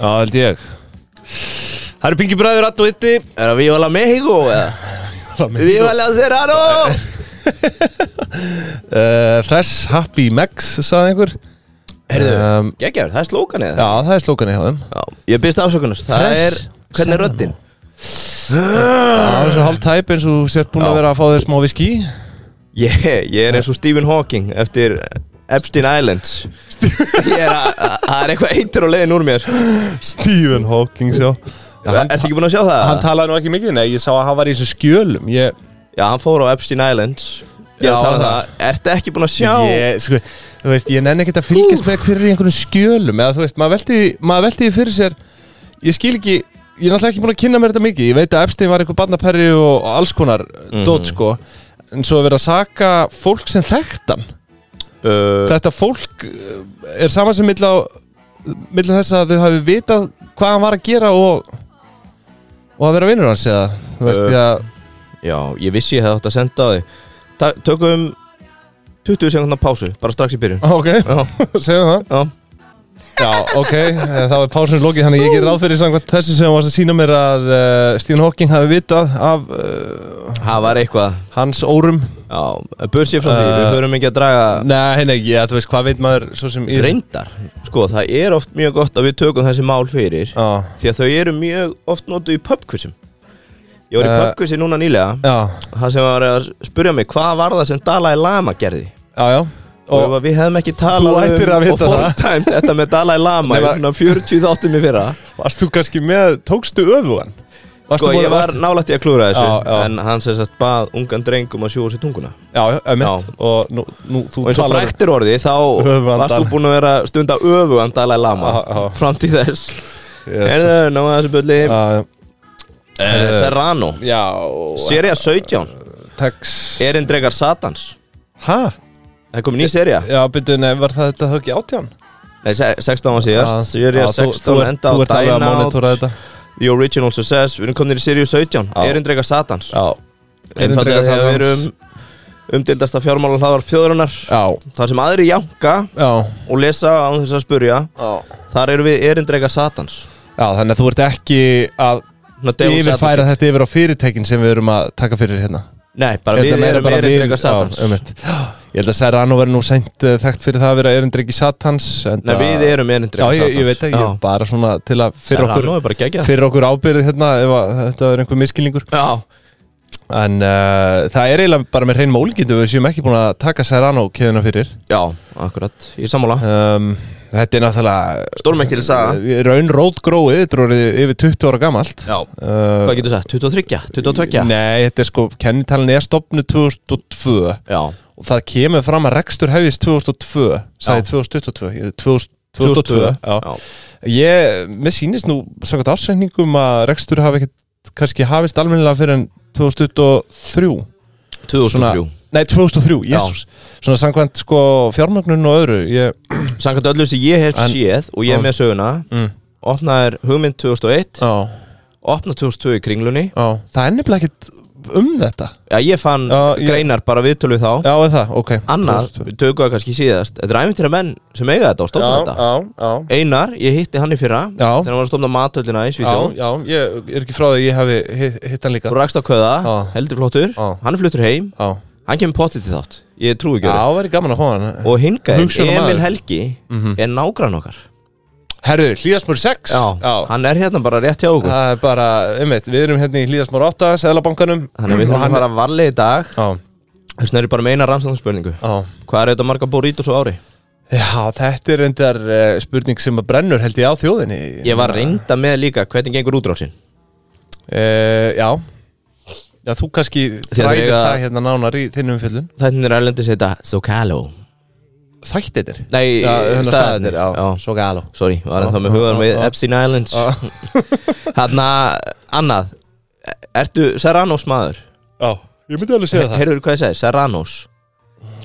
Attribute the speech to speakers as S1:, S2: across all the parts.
S1: Já, held ég Það eru Pinky Bræður, Add og Itti
S2: Er það Vívala Mexico eða? Vívala Serrano
S1: uh, Fresh Happy Max, sagði einhver
S2: Heyrðu,
S1: Um,
S2: geggjör, það er slókan eða?
S1: Já, það er slókan í hafðum
S2: Já, Ég byrst afsökunar, það
S1: Fresh
S2: er, hvernig er röddin?
S1: Það er svo hálf tæp eins og þú sért búin að vera að fá þér smá viski
S2: Ég, ég er eins og Stephen Hawking eftir Epstein Islands Ég er að, að- það er eitthvað eitur á leiðin úr mér
S1: Stephen Hawking, já
S2: Ertu ekki búin að sjá það?
S1: Hann talaði nú ekki mikið, nei, ég sá að hann var í þessum skjölum Ég,
S2: Já, hann fór á Epstein Islands Ég er
S1: Já,
S2: að tala um
S1: það.
S2: það, ertu ekki búin að sjá?
S1: ég sko, þú veist, ég nenni ekkert að fylgjast með hver er í einhverjum skjölum Eða þú veist, maður velti, því- maður velti því fyrir sér Ég skil ekki, ég er náttúrulega ekki búin að kynna mér þetta mikið Ég veit að Epstein var eitthvað barnaperri og og alls konar mm. dót, sko En svo er verið að saka fólk sem þekktan
S2: Uh,
S1: Þetta fólk uh, er saman sem milla, milla þess að þau hafi vitað hvað hann var að gera og, og að vera vinnur hans eða, þú veist,
S2: Uh,
S1: því að
S2: Já, ég vissi ég hefði átt að senda á þig Ta Tökum 20 sekundar pásu, bara strax í byrjun
S1: Ok,
S2: Já.
S1: segjum það
S2: Já,
S1: Já, ok, eh, þá er pásunum lokið þannig að ég gerir ráð fyrir samkvæmt þessu sem þú varst að sína mér að uh, Stephen Hawking hafi vitað af uh,
S2: það var eitthvað
S1: hans órum
S2: Já, börs ég frá því,
S1: Uh,
S2: við höfum ekki að draga
S1: Nei, henni ekki, ja, þú veist hvað veit maður svo sem í
S2: Reyndar, sko, það er oft mjög gott að við tökum þessi mál fyrir
S1: Já,
S2: Því að þau eru mjög oft notuð í pubquizum Ég var í
S1: Eh,
S2: pubquizi núna nýlega
S1: já,
S2: Það sem var að spurja mig, hvað var það sem Dalai Lama gerði?
S1: já, já
S2: Og,
S1: Og,
S2: við hefðum ekki talað um
S1: Þú ættir að
S2: og
S1: vita það.
S2: fordæmt þetta með Dalai Lama í
S1: Nema-
S2: svona 40 þáttum í fyrra
S1: varst þú kannski með, tókstu öfugan?
S2: Sko, ég var nálægt í að klúra þessu
S1: Já, já.
S2: En hann sem sagt bað ungan drengum að sjóa sér tunguna
S1: Já, já, emitt
S2: Já.
S1: Og nú, nú þú
S2: Og eins og
S1: talar
S2: fræktir orði, þá
S1: Öfugan
S2: varst þú
S1: Dalai-
S2: búin að vera að stunda öfugan Dalai Lama
S1: Já, já.
S2: Fram til þess
S1: yes. eh.
S2: Erðu, ná að þessu byrli
S1: uh,
S2: Serrano
S1: Já
S2: Serja 17
S1: Tex
S2: Erindregar Satans
S1: Hæ?
S2: Það er komin ný serja
S1: Já, byrju, nei, var það þetta þá ekki átján?
S2: Nei, se- 16 var síðast Serja
S1: Já, Ah, þú- þú
S2: 16
S1: ert-
S2: enda á
S1: Þú ert alveg að
S2: Dine Out
S1: monitora Ah. þetta
S2: The Original Success Við erum komin í serju 17
S1: Já.
S2: Erindregar Satans
S1: Já
S2: Einfallega
S1: Erindreka
S2: þegar við
S1: Satans.
S2: erum umdildasta fjármála hlaðvarp þjóðurinnar
S1: Já,
S2: Þar sem aðri janka
S1: já,
S2: og lesa án þess að spurja
S1: já.
S2: Þar eru við erindreika satans
S1: þannig að þú ert ekki að
S2: Svona devil's
S1: yfirfæra
S2: advocate.
S1: þetta yfir á fyrirtækin sem við erum að taka fyrir hérna
S2: Nei, bara
S1: Ég held að
S2: við
S1: meira
S2: erum
S1: bara við-
S2: erindreika satans
S1: Já, einmitt. Ég held að Serrano verður nú sent uh, þekkt fyrir það að vera erindreki satans enda-
S2: Nei, við erum erindreika
S1: Já,
S2: satans
S1: ég, ég veit ekki, ég bara svona til að fyrir
S2: Serrano
S1: okkur,
S2: er bara geggjað.
S1: fyrir okkur ábyrði hérna ef að, þetta er einhver miskilningur
S2: Já,
S1: En uh, það er eiginlega bara með hreinum ólíkindu við séum ekki búin að taka Serrano keðuna fyrir
S2: já, akkurat, ég er sammála
S1: um, Þetta er náttúrulega
S2: Stórmæktileg saga
S1: uh, raun rót gróið, þetta er orðið yfir 20 ára gamalt
S2: Já,
S1: uh,
S2: hvað getur sagt, 23, 22
S1: Nei, þetta er sko, kennitalin er stopnu 2002
S2: Já,
S1: og það kemur fram að rekstur hefðist 2002 sagði
S2: Já.
S1: 2022 ég- 2000 2002 já.
S2: já.
S1: Ég, mér sýnist nú samkvæmt ásreikningum að rekstur hafi ekkert kannski hafist almennilega fyrir en 2023
S2: 2003
S1: Nei, 2003,
S2: Já.
S1: jésús Svona samkvæmt sko fjármögnun og öðru ég,
S2: Sankant öllu sem ég hef
S1: En-
S2: séð og ég er
S1: Já.
S2: með söguna
S1: mm,
S2: Opnaðir hugmynd 2001
S1: á,
S2: Opnað 2002 í kringlunni
S1: á. Það er nefnilega ekkert um þetta
S2: Já, ég fann
S1: Já, ég-
S2: greinar bara viðtölu þá
S1: Já, eða það, ok
S2: Annað, við tökum það kannski síðast Þetta er æfintýra menn sem eiga þetta og stofna þetta
S1: já, já
S2: Einar, ég hitti hann í fyrra
S1: Já.
S2: Þegar hann var að stofna matöllina í
S1: Já,
S2: Svíþjóð
S1: já, ég er ekki frá því að ég hafi hitt, hitt hann líka
S2: Þú rakst á köða,
S1: Já.
S2: heldur flottur
S1: Já.
S2: Hann er fluttur heim,
S1: Já,
S2: hann kemur pottið til þátt Ég trúi
S1: já,
S2: ekki verið
S1: væri gaman að fá hann um
S2: Og hingaði,
S1: Hugsjónamaður.
S2: Emil Helgi
S1: Mhm.
S2: er nágrann okkar
S1: Herru, hlýðasmur 6
S2: Hann er hérna bara rétt hjá okkur
S1: Það er bara, einmitt, við erum hérna í hlýðasmur 8 Seðlabankanum
S2: Þannig að
S1: Og
S2: við þurfum að
S1: hann-
S2: fara varlega í dag
S1: Já,
S2: Þess vegna er ég bara meina rannsóknarspurningu
S1: já
S2: Hvað er þetta marga burritos á ári?
S1: Já, þetta er reyndar uh, spurning sem að brennur held ég á þjóðinni
S2: Ég var reynda með líka hvernig gengur útrásin
S1: uh, Já Já, þú kannski
S2: Þér
S1: þræðir
S2: eiga-
S1: það hérna nánar í þinnum fjöllun
S2: Þannig er erlendis þetta Socalo
S1: Þættir
S2: Nei,
S1: Já, hérna
S2: staðirnir,
S1: staðir, já,
S2: já.
S1: svo galo
S2: Sorry, var
S1: Já,
S2: það með
S1: já,
S2: hugan
S1: já,
S2: með
S1: já.
S2: Epstein Islands
S1: Ah.
S2: Þarna, annað Ertu Serranos maður?
S1: Já, ég myndi alveg segja það
S2: Heyrður hvað ég segi, Serranos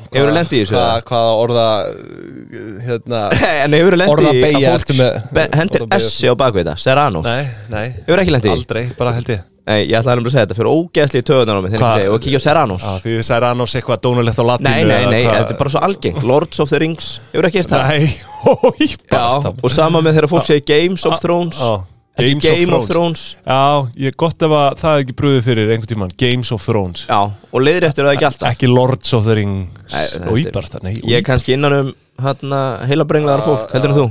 S2: Hefur þú lendið í þessu?
S1: Hva-
S2: eða?
S1: Hvaða orða uh, hérna
S2: En hefur þú lendið í
S1: Orðabeygja
S2: að
S1: ertu með-
S2: fólk spe- hendir
S1: Orðabeygja.
S2: S á bakvið þetta? Serranos
S1: Nei, nei
S2: Hefur ekki lendið í?
S1: Aldrei, bara held ég
S2: Nei, ég ætlaði nefnilega að segja þetta fyrir ógeðsli í töðunar á mig þegar
S1: Hvað?
S2: ég segi, og kíkja á Serranos
S1: Já, því þið særi annars eitthvað dónulegt á latinu
S2: Nei, nei,
S1: eða
S2: nei,
S1: hvað-
S2: þetta er bara svo algengt Lords of the Rings, ég voru ekki eist það
S1: Nei, hói,
S2: Já,
S1: basta
S2: og sama með
S1: Ah,
S2: þegar fólk segir Games of Thrones
S1: Já, ah,
S2: Ekki
S1: Games of
S2: Game of
S1: Thrones.
S2: Thrones
S1: Já, ég gott ef að það er ekki brúðið fyrir einhvern tímann Games of Thrones
S2: Já, og leiðir eftir það ekki alltaf
S1: Ekki Lords of the Rings
S2: Nei, þetta
S1: Og
S2: er-
S1: íbarsta, nei
S2: Ég er kannski innan um hérna heilabrenglaðar fólk, heldur en þú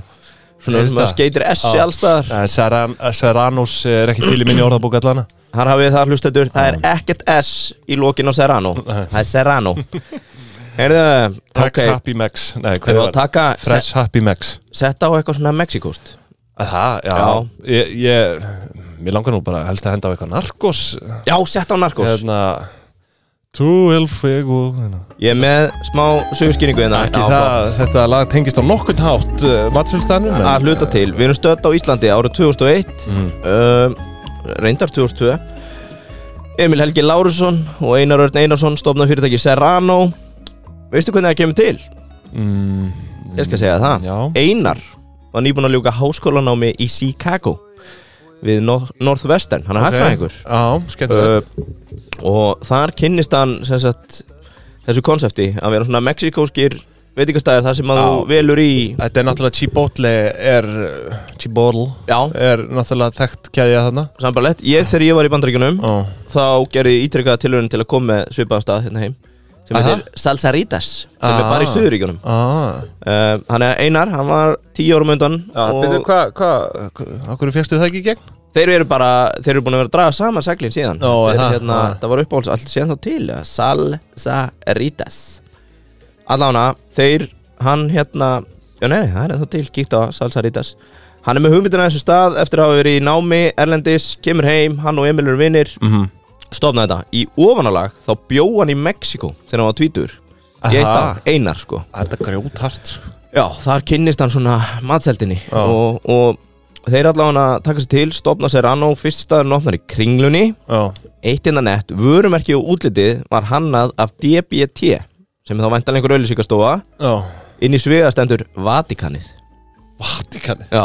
S2: Svona
S1: Ég
S2: sem að
S1: veist það.
S2: skeitir S-i
S1: Já.
S2: allstaðar
S1: Eh, Saran- eh, Serranos er ekki til í minni orðabók allana
S2: Þar hafið það hlustendur, það er ekkert S í lokin á Serrano Það er Serrano Heyrðu,
S1: Tax
S2: ok
S1: Happy Max Nei,
S2: Við
S1: hvað
S2: varum að
S1: var
S2: taka, se-
S1: Fresh Happy Max
S2: setta á eitthvað svona Mexikost
S1: Að Það, já,
S2: Já.
S1: Ég, ég, mér langar nú bara helst að henda á eitthvað narkos
S2: Já, setta á narkos
S1: Hérna Tú el fuego hérna.
S2: Ég er með smá sögurskýringu hérna
S1: Ekki
S2: Já,
S1: það, þetta lag tengist á nokkurn hátt uh, matsvöldstæðanum
S2: að hluta til, við erum stödd á Íslandi árið 2001
S1: Mm,
S2: um, reyndar 2002 Emil Helgi Lárusson og Einar Örn Einarsson stofna fyrirtæki Serrano veistu hvernig það kemur til?
S1: mm,
S2: ég skal segja það
S1: Já.
S2: Einar var nýbúin að ljúka háskólanámi í Chicago við Nor- Northwestern, hann er okay. hagfræðingur
S1: Já, skemmtilegt
S2: uh, og þar kynnist hann sem sagt, þessu konsepti að vera svona mexikóskir veitingastæðar þar sem að þú velur í
S1: Þetta er náttúrulega Chipotle er uh, Chipotle
S2: já,
S1: er náttúrulega þekkt kæðja þarna
S2: sambarlegt, ég þegar ég var í bandaríkunum
S1: Ó,
S2: þá gerði ég ítrekkaða tilhörin til að koma með svipaðan stað hérna heim sem
S1: Aha.
S2: heitir Salsaritas sem er
S1: Ah.
S2: bara í Suðuríkjunum
S1: ah.
S2: uh, hann er Einar, hann var 10 árum undan og
S1: hvað hva, hva, Akkur fegstu það ekki í gegn?
S2: þeir eru bara þeir eru búin að vera að draga saman seglin síðan
S1: Ó,
S2: þeir,
S1: aha,
S2: hérna,
S1: aha.
S2: það var uppáhalds allt síðan þá til ja. Salsaritas allána, þeir hann hérna, já nei, nei, það er ennþá til kíkt á Salsaritas hann er með hugmyndina að þessu stað eftir að hafa verið í námi Erlendis, kemur heim, hann og Emil eru vinnir
S1: Mm
S2: stofna þetta í ofanalag þá bjó hann í Mexiko þegar hann var tvítur ég eitt
S1: Aha.
S2: af einar sko
S1: Þetta grjóthart sko.
S2: já, þar kynnist hann svona matseldinni
S1: Já.
S2: og, og þeir allavega taka sér til stofna sér anná fyrst staðurinn opnar í kringlunni
S1: Já,
S2: eitt innan nett, vörumerki og útlitið var hannað af DBT sem er þá væntanlega einhver auðlýsingastofa
S1: já
S2: inn í svegastendur Vatikanið
S1: Vatikanið
S2: já,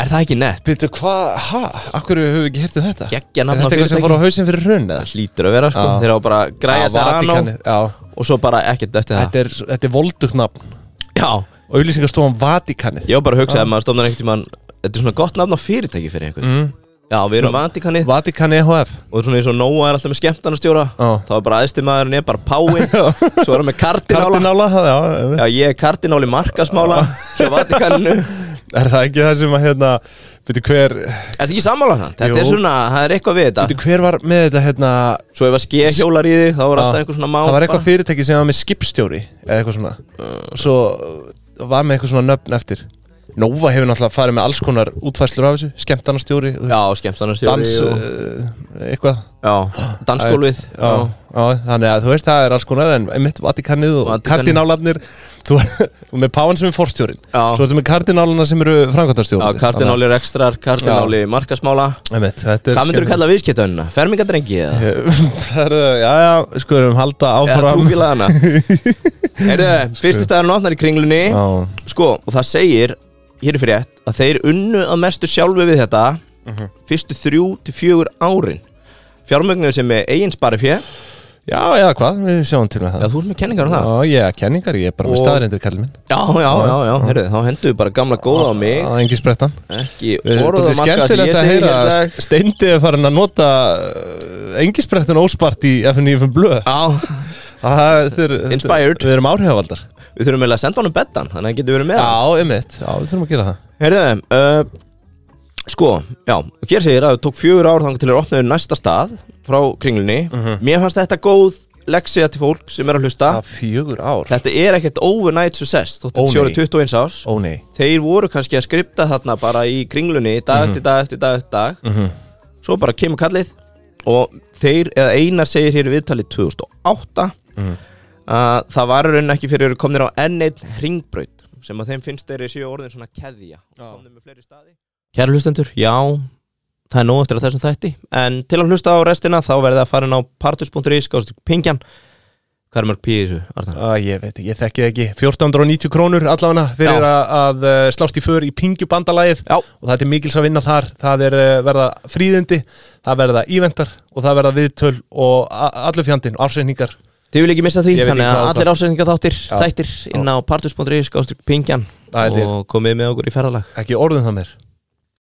S2: er það ekki nett?
S1: Býttu hvað, hæ, akkur höfum við ekki hirtið þetta?
S2: Geggja
S1: Er
S2: nafn á
S1: þetta eitthvað sem fór á
S2: fyrirtæki
S1: hausinn fyrir hrun eða?
S2: það hlýtur að vera sko,
S1: Já.
S2: þeir á bara að græja sér
S1: Vatikanið, já
S2: og svo bara ekkert eftir það
S1: Þetta er, þetta er voldugt nafn
S2: já,
S1: Auðlýsingastofan Vatikanið
S2: Ég var bara að hugsa að maður stofnar einhvern tímann Þetta er svona gott nafn á fyrirtæki fyrir einhvern
S1: mm.
S2: Já, við erum Vatikanið
S1: Vatikan EHF
S2: Og svona eins og Nóa er alltaf með skemmtarnastjóra
S1: Já.
S2: Þá er bara aðstu maðurinn er bara Páin Svo erum við kardinála
S1: Kardinála, það, já,
S2: Já, ég er kardináli markasmála
S1: Ah.
S2: Hjá Vatikaninu Er
S1: Er það ekki það sem að hérna Býttu hver
S2: þetta ekki sammála það? Þetta er
S1: Jú.
S2: svona, það er eitthvað við þetta
S1: Býttu hver var með þetta hérna
S2: Svo ef að ske hjólar í því, þá er alltaf
S1: Já.
S2: einhver svona má
S1: Ah. Það var eitthvað fyrirtæki sem var með skipstjóri Eða eitthvað svona Og Svo uh, var með eitthvað svona nöfn eftir Nova hefur náttúrulega farið með alls konar útfæslur af þessu Skemtanastjóri
S2: Já, skemmtarnastjóri
S1: Dans
S2: og...
S1: uh, Eitthvað
S2: Já, dansgólfið
S1: já, já, þannig að þú veist það er alls konar En mitt Vatikanið og
S2: Vatikanið.
S1: kardinálarnir Þú þú með páan sem er forstjórin
S2: Já.
S1: Svo ertu með kardinálarna sem eru
S2: Já,
S1: framkvæmtastjóri
S2: kardináli rekstrar, kardináli markasmála Hvað myndur þú kalla viðskiptaunina? Fermingadrengi eða?
S1: Það eru, já, já, sko erum halda
S2: Eða
S1: áfram
S2: trúfélagana Heyrðu, fyrsti staðurinn opnar í kringlunni
S1: Já,
S2: Sko, og það segir Hér er fyrir rétt Að þeir unnu að mestu sjálfi við þetta
S1: Mhm.
S2: Fyrstu þrjú til fjögur árin Fjármögnuðu sem er eigin spari fjö
S1: já, já, hvað, við sjáum til með
S2: Já,
S1: það
S2: þú ert með kenningar um það
S1: Já, ég er kenningar, ég er bara með
S2: Og-
S1: staðarindir kallið minn
S2: Já, já, já, já, heyrðu Þá henduðu bara gamla góða á mig
S1: Já, engin sprettan
S2: Ekki
S1: Þetta
S2: orða
S1: er
S2: marka sem ég
S1: skemmtilegt að
S2: segi
S1: heyra sko.
S2: hér
S1: að
S2: dag
S1: Steindi er farin að nota engin sprettan óspart í FNF blöð
S2: Já,
S1: Það þetta er- þetta er-
S2: Inspired.
S1: Við erum áhrifavaldar
S2: við þurfum eiginlega að senda honum bettan Þannig að hann getur verið með
S1: Já, einmitt, já, við þurfum að gera það
S2: Herðu, uh, sko, já, og hér segir að það tók fjögur ár þangar til að opnaðu næsta stað frá kringlunni.
S1: Mhm.
S2: Mér fannst þetta góð leksiða til fólk sem er að hlusta.
S1: Það fjögur ár
S2: Þetta er ekkert overnight success, þótt
S1: Ó,
S2: þetta sjóri
S1: nei.
S2: 21 árs.
S1: Ó nei
S2: Þeir voru kannski að skripta þarna bara í kringlunni
S1: Mhm.
S2: dag eftir dag eftir dag eftir dag. Svo bara kemur kallið og þeir, eða einar segir hér í viðtalið 2008 að það var í rauninni ekki fyrir að komnir á N1 ringbraut sem að þeim finnst þeirri séu orðin svona keðja
S1: Já.
S2: og komnir með fleiri staði Kæra hlustendur, já, það er nóg eftir að þessum þætti En til að hlusta á restina þá verðið að fara inn á partus.is Gáðast pingjan Hvað er mörg pí í þessu, Arnar?
S1: Æ, ég veit ekki, ég þekki það ekki 1490 krónur allavega fyrir
S2: Já.
S1: að, að eh, slást í för í pingjubandalagið
S2: Já.
S1: og það er mikils að vinna þar það er eh, verða fríðindi, það verða íventar og það verða viðtöl og a- allur fjandinn, ársreiningar
S2: Þið vil ekki missa því,
S1: Ég veit ekki
S2: þannig að
S1: hvað
S2: allir
S1: þetta-
S2: ásendinga þáttir,
S1: Já.
S2: þættir inn á partus.ri skástrík pingjan
S1: Það held ég.
S2: og komið með okkur í ferðalag
S1: ekki orðum það mér